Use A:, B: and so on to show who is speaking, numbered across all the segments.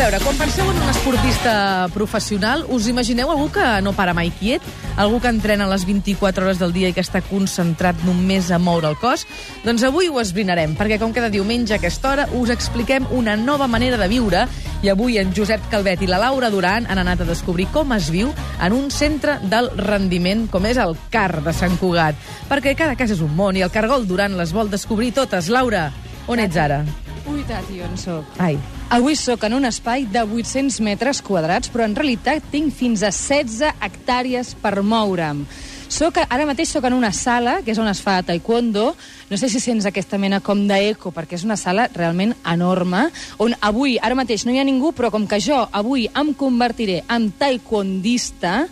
A: penseu en un esportista professional, us imagineu algú que no para mai quiet? Algú que entrena les 24 hores del dia i que està concentrat només a moure el cos? Doncs avui ho esbrinarem, perquè com cada diumenge a aquesta hora us expliquem una nova manera de viure i avui en Josep Calvet i la Laura Duran han anat a descobrir com es viu en un centre del rendiment com és el CAR de Sant Cugat. Perquè cada cas és un món i el Cargol Duran les vol descobrir totes. Laura, on ets ara?
B: Ui, tati, on sóc?
A: Ai,
B: Avui sóc en un espai de 800 metres quadrats, però en realitat tinc fins a 16 hectàrees per moure'm. Soc, ara mateix sóc en una sala, que és on es fa taekwondo. No sé si sents aquesta mena com d'eco, perquè és una sala realment enorme, on avui, ara mateix, no hi ha ningú, però com que jo avui em convertiré en taekwondista...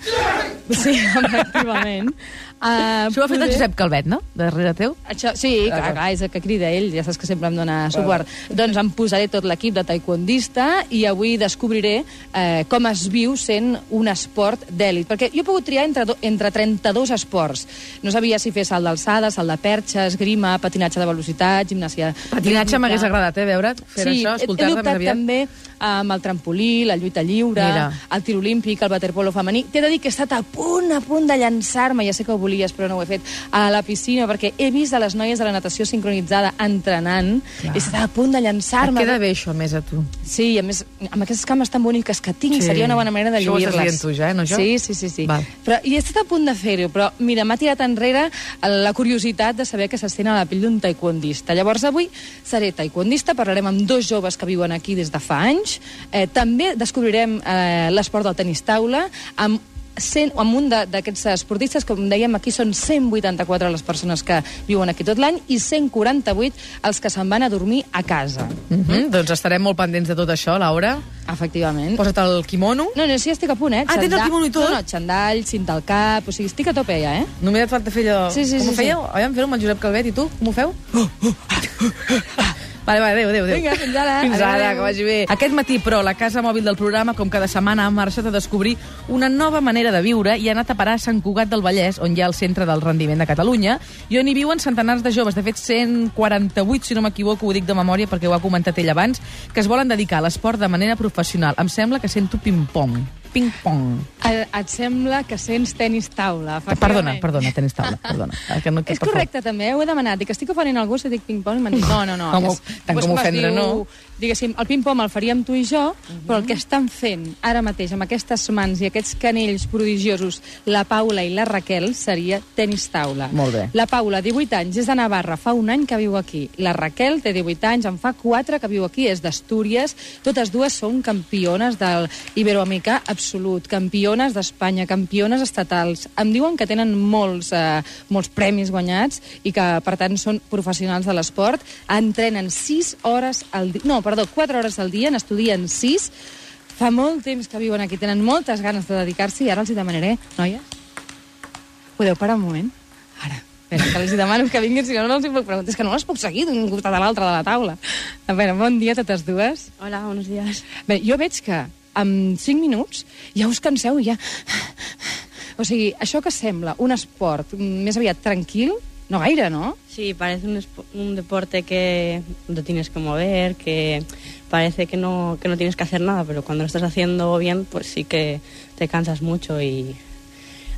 B: Sí, efectivament. Uh,
A: això ho ha fet el Josep Calvet, no? Darrere teu?
B: Això, sí, clar, clar, és el que crida ell, ja saps que sempre em dona suport. Doncs em posaré tot l'equip de taekwondista i avui descobriré eh, com es viu sent un esport d'èlit. Perquè jo he pogut triar entre, do, entre 32 esports. No sabia si fer salt d'alçada, salt de perxa, esgrima, patinatge de velocitat, gimnàsia...
A: Patinatge
B: rítmica.
A: m'hagués agradat, eh, veure't, fer
B: sí,
A: això,
B: he- he
A: escoltar-te
B: dubtat
A: més aviat.
B: també amb el trampolí, la lluita lliure,
A: Mira.
B: el tir olímpic, el waterpolo femení. T'he de dir que he estat a punt, a punt de llançar-me, ja sé que ho volies, però no ho he fet, a la piscina, perquè he vist a les noies de la natació sincronitzada entrenant,
A: Clar.
B: Clar. he estat a punt de
A: Et
B: llançar-me.
A: queda bé això, més, a tu.
B: Sí, i a més, amb aquestes cames tan boniques que tinc,
A: Sí.
B: sí. seria una bona manera de
A: Això ho estàs
B: lluir-les.
A: dient tu ja, eh, no jo?
B: Sí, sí, sí. sí.
A: Val.
B: Però, I he estat a punt de fer-ho, però mira, m'ha tirat enrere la curiositat de saber que s'estén a la pell d'un taekwondista. Llavors avui seré taekwondista, parlarem amb dos joves que viuen aquí des de fa anys. Eh, també descobrirem eh, l'esport del tenis taula amb 100, amb un de- d'aquests esportistes, com dèiem, aquí són 184 les persones que viuen aquí tot l'any i 148 els que se'n van a dormir a casa.
A: Mm -hmm. Doncs estarem molt pendents de tot això, Laura.
B: Efectivament.
A: Posa't el quimono.
B: No, no, sí, estic a punt, eh?
A: Ah, tens el
B: Xandall-
A: quimono i tot?
B: No, no, xandall, cinta al cap, o sigui, estic a tope ja, eh?
A: Només et falta fer allò...
B: Sí, sí,
A: com ho
B: sí, sí.
A: fèieu? Sí. Aviam, fer-ho amb el Josep Calvet. I tu, com ho feu? Vale, vale, adéu, adéu, adéu.
B: Vinga, fins ara.
A: Fins ara,
B: Adéu.
A: que vagi bé. Aquest matí, però, la casa mòbil del programa, com cada setmana, ha marxat a descobrir una nova manera de viure i ha anat a parar a Sant Cugat del Vallès, on hi ha el Centre del Rendiment de Catalunya, i on hi viuen centenars de joves, de fet 148, si no m'equivoco, ho dic de memòria perquè ho ha comentat ell abans, que es volen dedicar a l'esport de manera professional. Em sembla que sento ping-pong. Ping-pong.
B: Eh, Et, et sembla que sents tenis taula,
A: Perdona,
B: efectivament.
A: perdona, tenis taula, perdona. Eh, Que no, que
B: eh. És
A: per favor.
B: correcte, també, ho he demanat. Dic, estic ofenent algú si dic ping-pong i m'han dit, no, no, no.
A: Com ho-
B: és-
A: tant
B: doncs
A: com
B: es
A: ofendre,
B: diu,
A: no.
B: Diguéssim, el ping-pong el faríem tu i jo, però el que estan fent ara mateix amb aquestes mans i aquests canells prodigiosos, la Paula i la Raquel, seria tenis taula.
A: Molt bé.
B: La Paula, 18 anys, és de Navarra, fa un any que viu aquí. La Raquel té 18 anys, en fa 4 que viu aquí, és d'Astúries. Totes dues són campiones del Iberoamericà absolut, campiones d'Espanya, campiones estatals. Em diuen que tenen molts, eh, molts premis guanyats i que, per tant, són professionals de l'esport. Entrenen 6 hores al dia... No, perdó, 4 hores al dia, n'estudien 6. Fa molt temps que viuen aquí, tenen moltes ganes de dedicar-s'hi i ara els hi demanaré, noies, Podeu parar un moment? Ara. Espera, que els hi demano que vinguin, si no, no els hi puc preguntar. És que no les puc seguir d'un costat a l'altre de la taula. A veure, bon dia a totes dues.
C: Hola, buenos días.
B: Bé, jo veig que en 5 minuts ja us canseu i ja... O sigui, això que sembla un esport mm, més aviat tranquil, no gaire, no?
C: Sí, parece un, espo- un deporte que no tienes que mover, que parece que no, que no tienes que hacer nada, pero cuando lo estás haciendo bien, pues sí que te cansas mucho y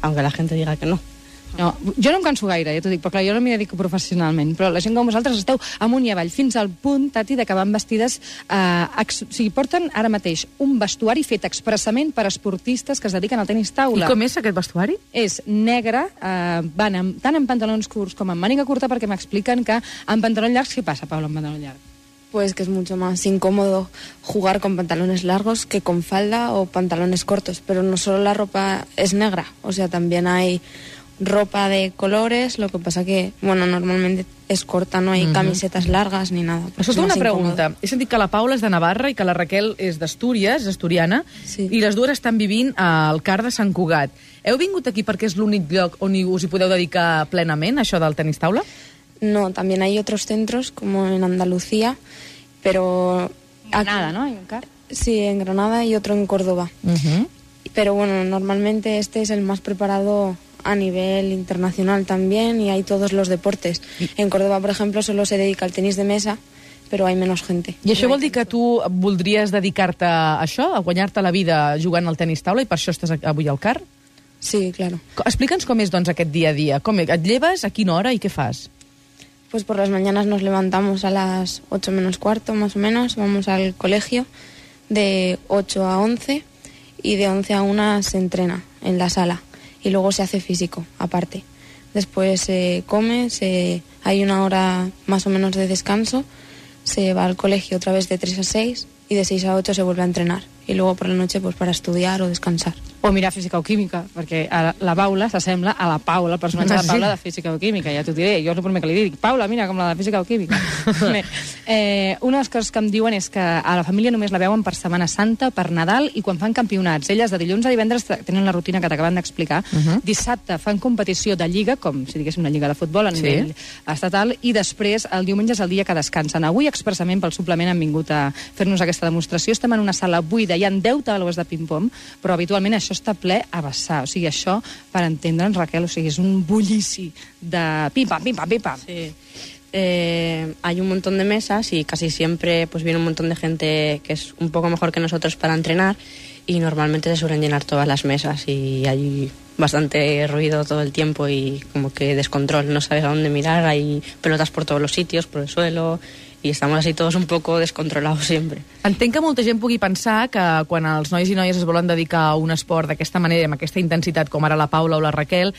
C: aunque la gente diga que no.
B: No, jo no em canso gaire, ja t'ho dic, però clar, jo no m'hi dedico professionalment, però la gent com vosaltres esteu amunt i avall, fins al punt, Tati, de que van vestides... Eh, ex... O sigui, porten ara mateix un vestuari fet expressament per esportistes que es dediquen al tenis
A: I
B: taula.
A: com és aquest vestuari?
B: és negre, eh, van amb, tant amb pantalons curts com amb màniga curta, perquè m'expliquen que amb pantalons llargs... Què passa, Paula, amb pantalons llargs?
D: Pues que es mucho más incómodo jugar con pantalones largos que con falda o pantalones cortos, pero no solo la ropa es negra, o sea, también hay ropa de colores, lo que pasa que, bueno, normalmente es corta, no hay camisetas largas ni nada. porque es
A: Escolta,
D: más
A: una
D: incómodo.
A: pregunta. He sentit que la Paula és de Navarra i que la Raquel és d'Astúries, asturiana,
D: Sí.
A: i les dues estan vivint al car de Sant Cugat. Heu vingut aquí perquè és l'únic lloc on hi- us hi podeu dedicar plenament, això del tenis taula?
D: No, también hay otros centros como en Andalucía, pero... aquí-
B: Nada, no? Hi ha un car?
D: Sí, en Granada y otro en Córdoba.
A: Uh -huh.
D: Pero bueno, normalmente este es el más preparado a nivel internacional también y hay todos los deportes. En Córdoba, por ejemplo, solo se dedica al tenis de mesa, pero hay menos gente.
A: I això vol dir que tu voldries dedicar-te a això, a guanyar-te la vida jugant al tenis taula, i per això estàs a- avui al CAR?
D: Sí, claro.
A: Co- Explica'ns com és, doncs, aquest dia a dia. Com et lleves, a quina hora i què fas?
D: Pues por las mañanas nos levantamos a las 8 menos cuarto, más o menos. Vamos al colegio de 8 a 11 y de 11 a 1 se entrena en la sala y luego se hace físico aparte. Después se come, se, hay una hora más o menos de descanso, se va al colegio otra vez de 3 a 6 y de 6 a 8 se vuelve a entrenar y luego por la noche pues para estudiar o descansar.
B: O mirar física o química, perquè a la Paula s'assembla a la Paula, el personatge de
A: Sí.
B: la Paula de física o química, ja t'ho diré, jo és el primer que li dic, Paula, mira com la de física o química. Bé, eh, una de les coses que em diuen és que a la família només la veuen per Setmana Santa, per Nadal i quan fan campionats. Elles de dilluns a divendres te- tenen la rutina que t'acaben d'explicar. Dissabte fan competició de lliga, com si diguéssim una lliga de futbol a
A: Sí.
B: nivell estatal i després el diumenge és el dia que descansen. Avui expressament pel suplement han vingut a fer-nos aquesta demostració. Estem en una sala buida, hi ha 10 taules de ping-pong, però habitualment això està ple a vessar. O sigui, això, per entendre'ns, Raquel, o sigui, és un bullici de pim-pam, pim-pam, pim-pam. Sí.
C: Sí. Eh, hay un montón de mesas y casi siempre pues viene un montón de gente que es un poco mejor que nosotros para entrenar y normalmente se suelen llenar todas las mesas y hay bastante ruido todo el tiempo y como que descontrol, no sabes a dónde mirar, hay pelotas por todos los sitios, por el suelo y estamos así todos un poco descontrolados siempre.
A: Entenc que molta gent pugui pensar que quan els nois i noies es volen dedicar a un esport d'aquesta manera, i amb aquesta intensitat, com ara la Paula o la Raquel,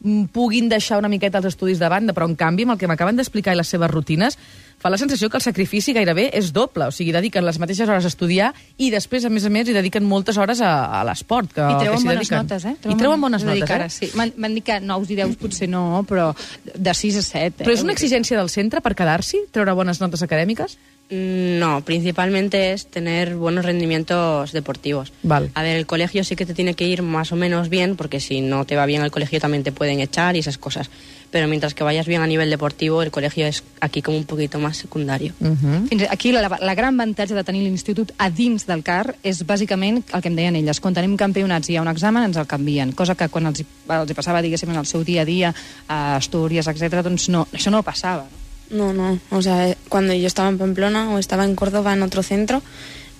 A: mm, puguin deixar una miqueta els estudis de banda, però en canvi, amb el que m'acaben d'explicar i les seves rutines, fa la sensació que el sacrifici gairebé és doble, o sigui, dediquen les mateixes hores a estudiar i després, a més a més, hi dediquen moltes hores a, a l'esport. Ah, que-
B: I
A: que
B: treuen
A: s'hi
B: bones
A: dediquen.
B: notes, eh?
A: I treuen bones
B: Vull dir
A: notes, eh?
B: que ara Sí. M'han- M'han dit que 9 i 10 potser no, però de 6 a 7.
A: Però és
B: eh?
A: una exigència del centre per quedar-s'hi, treure bones notes acadèmiques?
C: No, principalmente es tener buenos rendimientos deportivos.
A: Vale.
C: A ver, el colegio sí que te tiene que ir más o menos bien, porque si no te va bien el colegio también te pueden echar y esas cosas. Pero mientras que vayas bien a nivel deportivo, el colegio es aquí como un poquito más secundario.
A: Uh -huh.
B: Fins aquí la, la gran avantatge de tenir l'institut a dins del CAR és bàsicament el que em deien elles. Quan tenim campionats i hi ha un examen ens el canvien, cosa que quan els, hi- els hi passava, diguéssim, en el seu dia a dia, a Astúries, etc., doncs no, això no passava.
D: No, no. O sea, eh, cuando yo estaba en Pamplona o estaba en Córdoba en otro centro,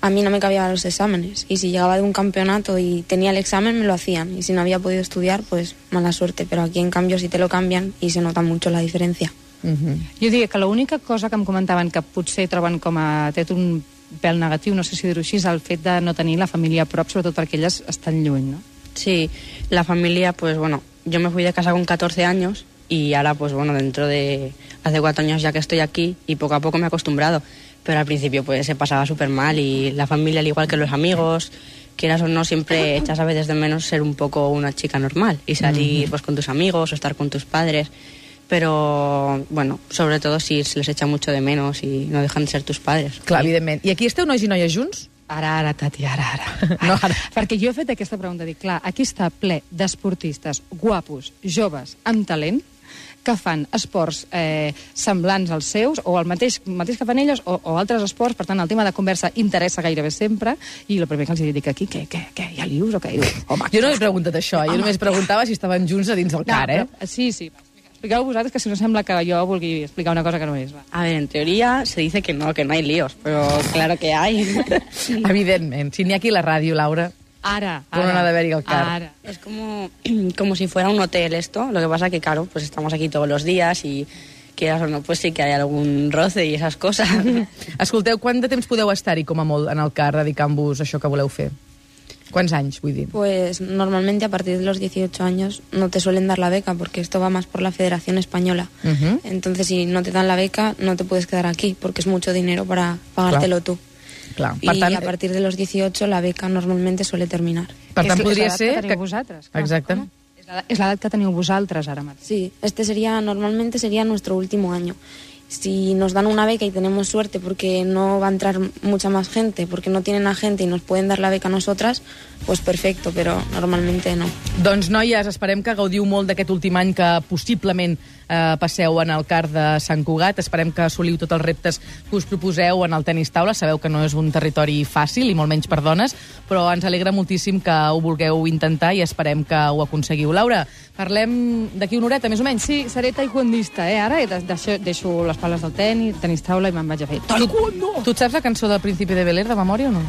D: a mí no me cabían los exámenes. Y si llegaba de un campeonato y tenía el examen, me lo hacían. Y si no había podido estudiar, pues mala suerte. Pero aquí, en cambio, sí te lo cambian y se nota mucho la diferencia.
B: Jo diria que l'única cosa que em comentaven que potser troben com a tret un pèl negatiu, no sé si dir-ho així, és el fet de no tenir la família a prop, sobretot perquè elles estan lluny, no?
C: Sí, la familia, pues bueno, yo me fui de casa con 14 años y ahora, pues bueno, dentro de hace cuatro años ya que estoy aquí y poco a poco me he acostumbrado. Pero al principio, pues se pasaba súper mal y la familia, al igual que los amigos, quieras o no, siempre echas a veces de menos ser un poco una chica normal y salir pues con tus amigos o estar con tus padres. Pero bueno, sobre todo si se les echa mucho de menos y no dejan de ser tus padres.
A: Clar, evidentment. I aquí esteu nois i noies junts?
B: Ara, ara, Tati, ara, ara.
A: No, ara.
B: Perquè jo he fet aquesta pregunta, dic, clar, aquí està ple d'esportistes guapos, joves, amb talent, que fan esports eh, semblants als seus, o el mateix, el mateix que fan elles, o, o altres esports, per tant, el tema de conversa interessa gairebé sempre, i el primer que els dic aquí, què, què, què, hi ha lius o què? Diu, Home,
A: Jo no he preguntat això, jo només preguntava si estaven junts a dins del car, eh?
B: però- sí, sí, va, explica- expliqueu vosaltres, que si no sembla que jo vulgui explicar una cosa que no és, va.
C: A ver, en teoría se dice que no, que no hay líos, pero claro que hay.
A: Evidentment. Si n'hi ha aquí a la ràdio, Laura.
B: Ara, ara.
A: Però no n'ha d'haver-hi el car.
B: Ara.
C: Es como, como si fuera un hotel esto, lo que pasa que claro, pues estamos aquí todos los días y quieras o no, pues sí que hay algún roce y esas cosas.
A: Escolteu, quant de temps podeu estar-hi, com a molt, en el car, dedicant-vos a això que voleu fer? Quants anys, vull dir?
D: Pues normalmente a partir de los 18 años no te suelen dar la beca, porque esto va más por la Federación Española.
A: Ujú.
D: Entonces, si no te dan la beca, no te puedes quedar aquí, porque es mucho dinero para pagártelo tú.
A: Clar, per
D: Y
A: tant,
D: a partir de los 18 la beca normalmente suele terminar.
A: per
B: És
A: tant
B: que- és
A: podria
B: l'edat
A: ser...
B: que teniu vosaltres, clar.
A: Exacte.
B: Home, És l'edat- és l'edat que teniu vosaltres ara mateix.
D: Sí, este sería, normalmente sería nuestro último año. Si nos dan una beca y tenemos suerte porque no va a entrar mucha más gente, porque no tienen a gente y nos pueden dar la beca a nosotras, pues perfecto, pero normalmente no.
A: Doncs, noies, esperem que gaudiu molt d'aquest últim any que possiblement eh, passeu en el car de Sant Cugat. Esperem que assoliu tots els reptes que us proposeu en el tenis taula. Sabeu que no és un territori fàcil i molt menys per dones, però ens alegra moltíssim que ho vulgueu intentar i esperem que ho aconseguiu. Laura, parlem d'aquí una horeta, més o menys?
B: Sí, seré taekwondista, eh? Ara i de- deixo, deixo les pales del tenis, tenis taula i me'n vaig a fer.
A: Tu et saps la cançó del Príncipe de Bel-Air de memòria o no?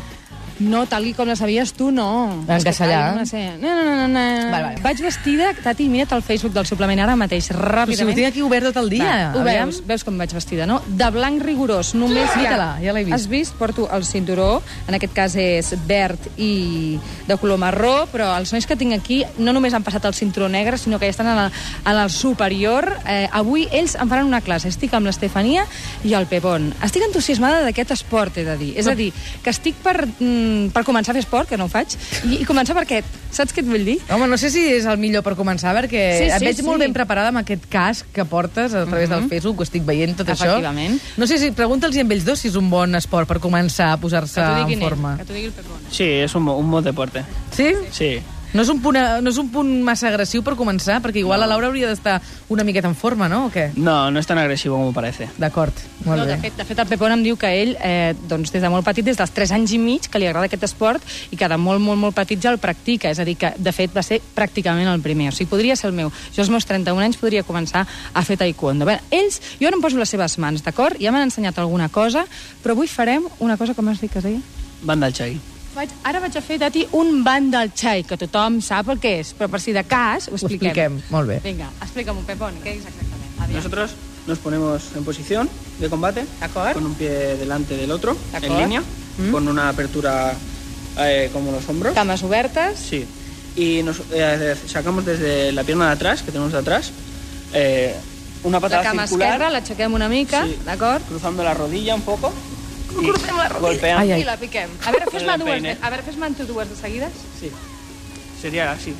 B: No, tal i com la sabies tu, no.
A: En
B: És que
A: castellà?
B: tal, No, sé. no, no, no, no.
A: Val, val.
B: Vaig vestida, Tati, mira't el Facebook del suplement ara mateix,
A: Però si ho
B: ràpidament.
A: tinc aquí obert tot el dia.
B: Va, ho
A: aviam.
B: veus, veus com vaig vestida, no? De blanc rigorós, només... hi ha-
A: Mira-la, ja l'he vist.
B: Has vist? Porto el cinturó, en aquest cas és verd i de color marró, però els nois que tinc aquí no només han passat el cinturó negre, sinó que ja estan en el, en el superior. Eh, avui ells em faran una classe. Estic amb l'Estefania i el Pepon. Estic entusiasmada d'aquest esport, he de dir. És a dir, que estic per, mm, per començar a fer esport, que no ho faig, i, i començar per aquest. Saps què et vull dir?
A: Home, no sé si és el millor per començar, perquè
B: Sí,
A: et
B: sí,
A: veig
B: sí. Mhm.
A: molt ben preparada amb aquest casc que portes a través del Facebook, ho estic veient tot això.
B: Efectivament.
A: No sé si pregunta'ls amb ells dos si és un bon esport per començar a posar-se
B: Que t'ho
A: en
B: diguin ells,
A: forma.
B: que t'ho digui el Pepon.
E: Sí, es un, bo- un buen deporte.
A: Sí?
E: Sí.
A: No és, un punt, no és un punt massa agressiu per començar, perquè igual la Laura hauria d'estar una miqueta en forma, no? O què?
E: No, no es tan agresivo como parece.
A: D'acord, molt
B: no,
A: bé.
B: de fet, de fet, el Pepón em diu que ell, eh, doncs, des de molt petit, des dels 3 anys i mig, que li agrada aquest esport i que de molt, molt, molt petit ja el practica. És a dir, que de fet va ser pràcticament el primer. O sigui, podria ser el meu. Jo als meus 31 anys podria començar a fer taekwondo. Bé, ells, jo ara em poso les seves mans, d'acord? Ja m'han ensenyat alguna cosa, però avui farem una cosa, com has dit que es deia?
E: Banda al chai.
B: Vaig, ara vaig a fer, Tati, un band del xai, que tothom sap el que és, però per si de cas ho
A: Ho
B: expliquem.
A: expliquem, molt bé.
B: Vinga, explica'm-ho, Pepón, què és exactament? Aviam.
E: Nosotros nos ponemos en posición de combate,
B: D'acord.
E: con un pie delante del otro,
B: D'acord.
E: en línea,
B: Mm.
E: con una apertura eh, como los hombros.
B: Cames obertes.
E: Sí. Y nos eh, sacamos desde la pierna de atrás, que tenemos de atrás, eh, una
B: La
E: patada
B: cama
E: circular.
B: esquerra l'aixequem una mica,
E: Sí.
B: d'acord?
E: Cruzando la rodilla un poco. y golpeando.
A: Ai, ai.
B: I la piquem. A veure, fes-me
E: Amb el
B: dues,
E: peine.
B: de- a veure, fes-me tu dues de seguides.
E: Sí. Sería así.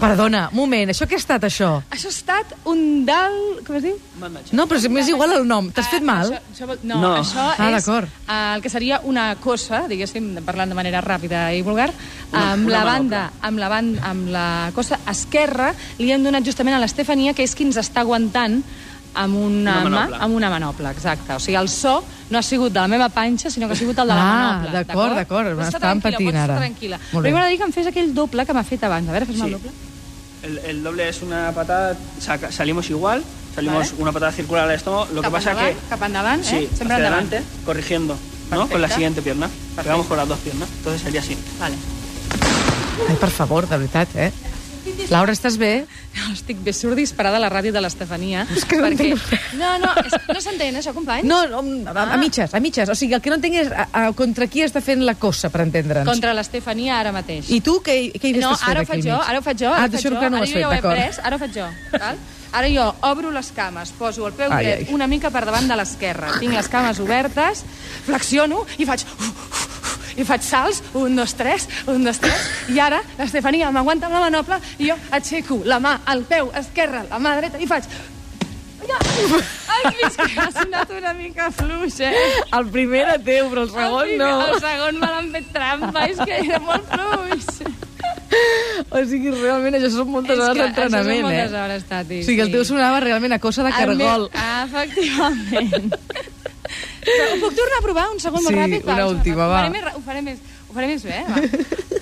A: Perdona, un moment, això què ha estat, això?
B: Això ha estat un dal... Com es diu?
E: Manda al chai.
A: No, però si m'és igual el nom. T'has
B: Ah,
A: fet mal?
B: Això, això, vol- no, no,
E: No.
B: això
A: Ah,
B: és
A: d'acord.
B: eh, el que seria una cosa, diguéssim, parlant de manera ràpida i vulgar,
E: Una-
B: amb,
E: una
B: la
E: manopla.
B: banda, amb la banda, amb la cosa esquerra, li hem donat justament a l'Estefania, que és qui ens està aguantant amb una,
E: Una
B: mà,
E: manopla.
B: amb una manopla, exacte. O sigui, el so no ha sigut de la meva panxa, sinó que ha sigut el de la
A: Ah,
B: manopla.
A: d'acord, d'acord.
B: Pots estar
A: Estava
B: tranquil·la,
A: patint
B: pots estar
A: ara.
B: tranquil·la.
A: Molt
B: Però
A: bé.
B: m'agradaria que em fes aquell doble que m'ha fet abans. A veure, fes-me
E: Sí.
B: el doble.
E: El, el doble es una patada, saca- salimos igual, salimos
B: Vale.
E: una patada circular al estómago, lo
B: cap
E: que pasa
B: endavant,
E: que...
B: Cap endavant,
E: sí,
B: eh?
E: hacia
B: Sempre endavant.
E: adelante, corrigiendo, ¿no? Con la
B: Perfecto.
E: siguiente pierna. Pegamos con las dos piernas, entonces sería así.
B: Vale.
A: Ai, per favor, de veritat, eh? Laura, estàs bé?
B: Estic bé, surt disparada la ràdio de l'Estefania.
A: És que no
B: perquè...
A: entenc.
B: No, no, és, no s'entén això, company?
A: No, no a,
B: Ah.
A: a mitges, a mitges. O sigui, el que no entenc és a, a, contra qui està fent la cosa, per entendre'ns.
B: Contra l'Estefania ara mateix.
A: I tu, què, què hi
B: no,
A: estàs fent
B: ara ho
A: aquí
B: faig jo,
A: al mig?
B: ara ho faig jo.
A: Ah,
B: ara ho
A: t'ho
B: faig
A: juro
B: jo,
A: que no ho
B: ara
A: has
B: jo
A: fet,
B: ja ho he
A: d'acord.
B: pres, Ara ho faig jo, val? Ara jo obro les cames, poso el peu
A: Ai,
B: dret
A: ai.
B: una mica per davant de l'esquerra. Tinc les cames obertes, flexiono i faig... I faig salts, un, dos, tres, un, dos, tres, i ara l'Estefania m'aguanta amb la manopla i jo aixeco la mà al peu esquerra, la mà dreta, i faig... Ja. Ai, fins que ha sonat una mica fluix, eh?
A: El primer era teu, però el
B: el primer- El segon me l'han fet trampa, és que era molt fluix.
A: O sigui, realment, això són moltes hores d'entrenament,
B: això són
A: eh?
B: moltes hores, Tati.
A: O sigui, el teu sonava realment a cosa de
B: El meu-
A: cargol.
B: Ah, efectivament. Però ho puc tornar a provar un segon molt
A: Sí,
B: ràpid?
A: una
B: un segon
A: última, va.
B: ràpid. Ho faré, més, ra- ho faré més, ho faré més bé, va.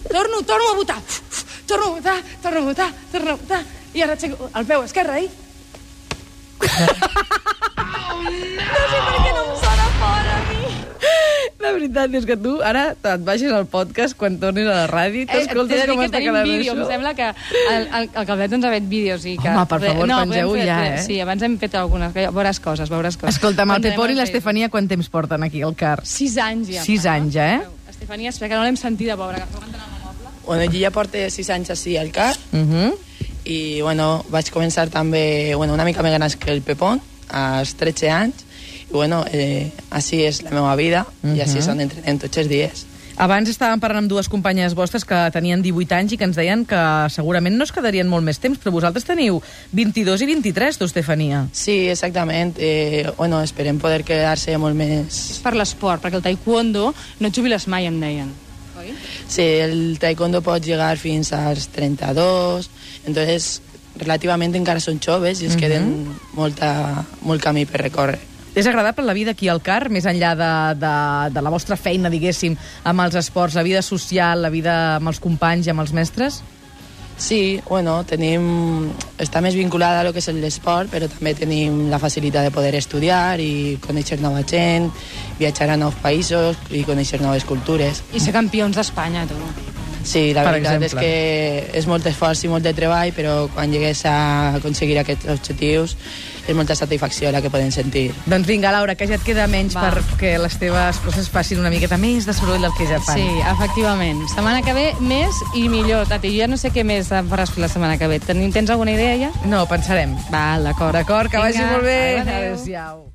B: torno, torno a votar. Torno a votar, torno a votar, torno a votar. I ara aixeco el peu esquerre i... no sé per què no em sona fora, a mi.
A: La veritat és que tu ara et baixes al podcast quan tornis a la ràdio i
B: Eh, t'he
A: t'escoltes
B: de dir
A: com
B: que
A: està
B: tenim
A: quedant
B: vídeo, Em
A: això.
B: sembla que el, el, el Calvet ens ha fet vídeos. I que
A: Home, per favor,
B: podem
A: pengeu-ho
B: fer-
A: ja,
B: fer-
A: eh?
B: Sí, abans hem fet algunes... Veuràs coses, veuràs coses.
A: Escolta'm, el
B: Pondrem
A: Pepón i
B: al
A: l'Estefania quant temps porten aquí al car?
B: Facebook. Sis anys ja.
A: Sis anys, ja, eh?
B: Estefania, espera que no l'hem sentida, pobra. Que s'aguanta la mà.
F: Bueno, jo ja porto 6 anys així al CAP
A: Uh -huh.
F: i bueno, vaig començar també bueno, una mica més gran que el Pepón, als 13 anys, i bueno, eh, així és la meva vida i així són entrenem tots els dies.
A: Abans estàvem parlant amb dues companyes vostres que tenien 18 anys i que ens deien que segurament no es quedarien molt més temps, però vosaltres teniu 22 i 23, tu, Estefania.
F: Sí, exactament. Eh, bueno, esperem poder quedar-se molt més...
B: Per l'esport, perquè el taekwondo no et jubiles mai, em deien. Oi?
F: Sí, el taekwondo pot llegar fins als 32, entonces relativament encara són joves i es queden molta, molt camí per recórrer.
A: És agradable la vida aquí al CAR, més enllà de, de, de la vostra feina, diguéssim, amb els esports, la vida social, la vida amb els companys i amb els mestres?
F: Sí, bueno, tenim... Està més vinculada a lo que és l'esport, però també tenim la facilitat de poder estudiar i conèixer nova gent, viatjar a nous països i conèixer noves cultures.
B: I ser campions d'Espanya, tu.
F: Sí, la
A: Per
F: veritat
A: exemple.
F: és que és molt esforç i molt de treball, però quan llegues a aconseguir aquests objectius és molta satisfacció la que podem sentir.
A: Doncs vinga, Laura, que ja et queda menys
B: Va.
A: perquè les teves coses facin una miqueta més de soroll del que ja fan.
B: Sí, efectivament. Setmana que ve, més i millor. Tati, jo ja no sé què més em faràs fer la setmana que ve. Tenim- Tens alguna idea ja?
A: No, pensarem.
B: Val, d'acord.
A: D'acord, que vagi
B: Vinga,
A: molt bé.
B: adéu.
A: Adéu-siau.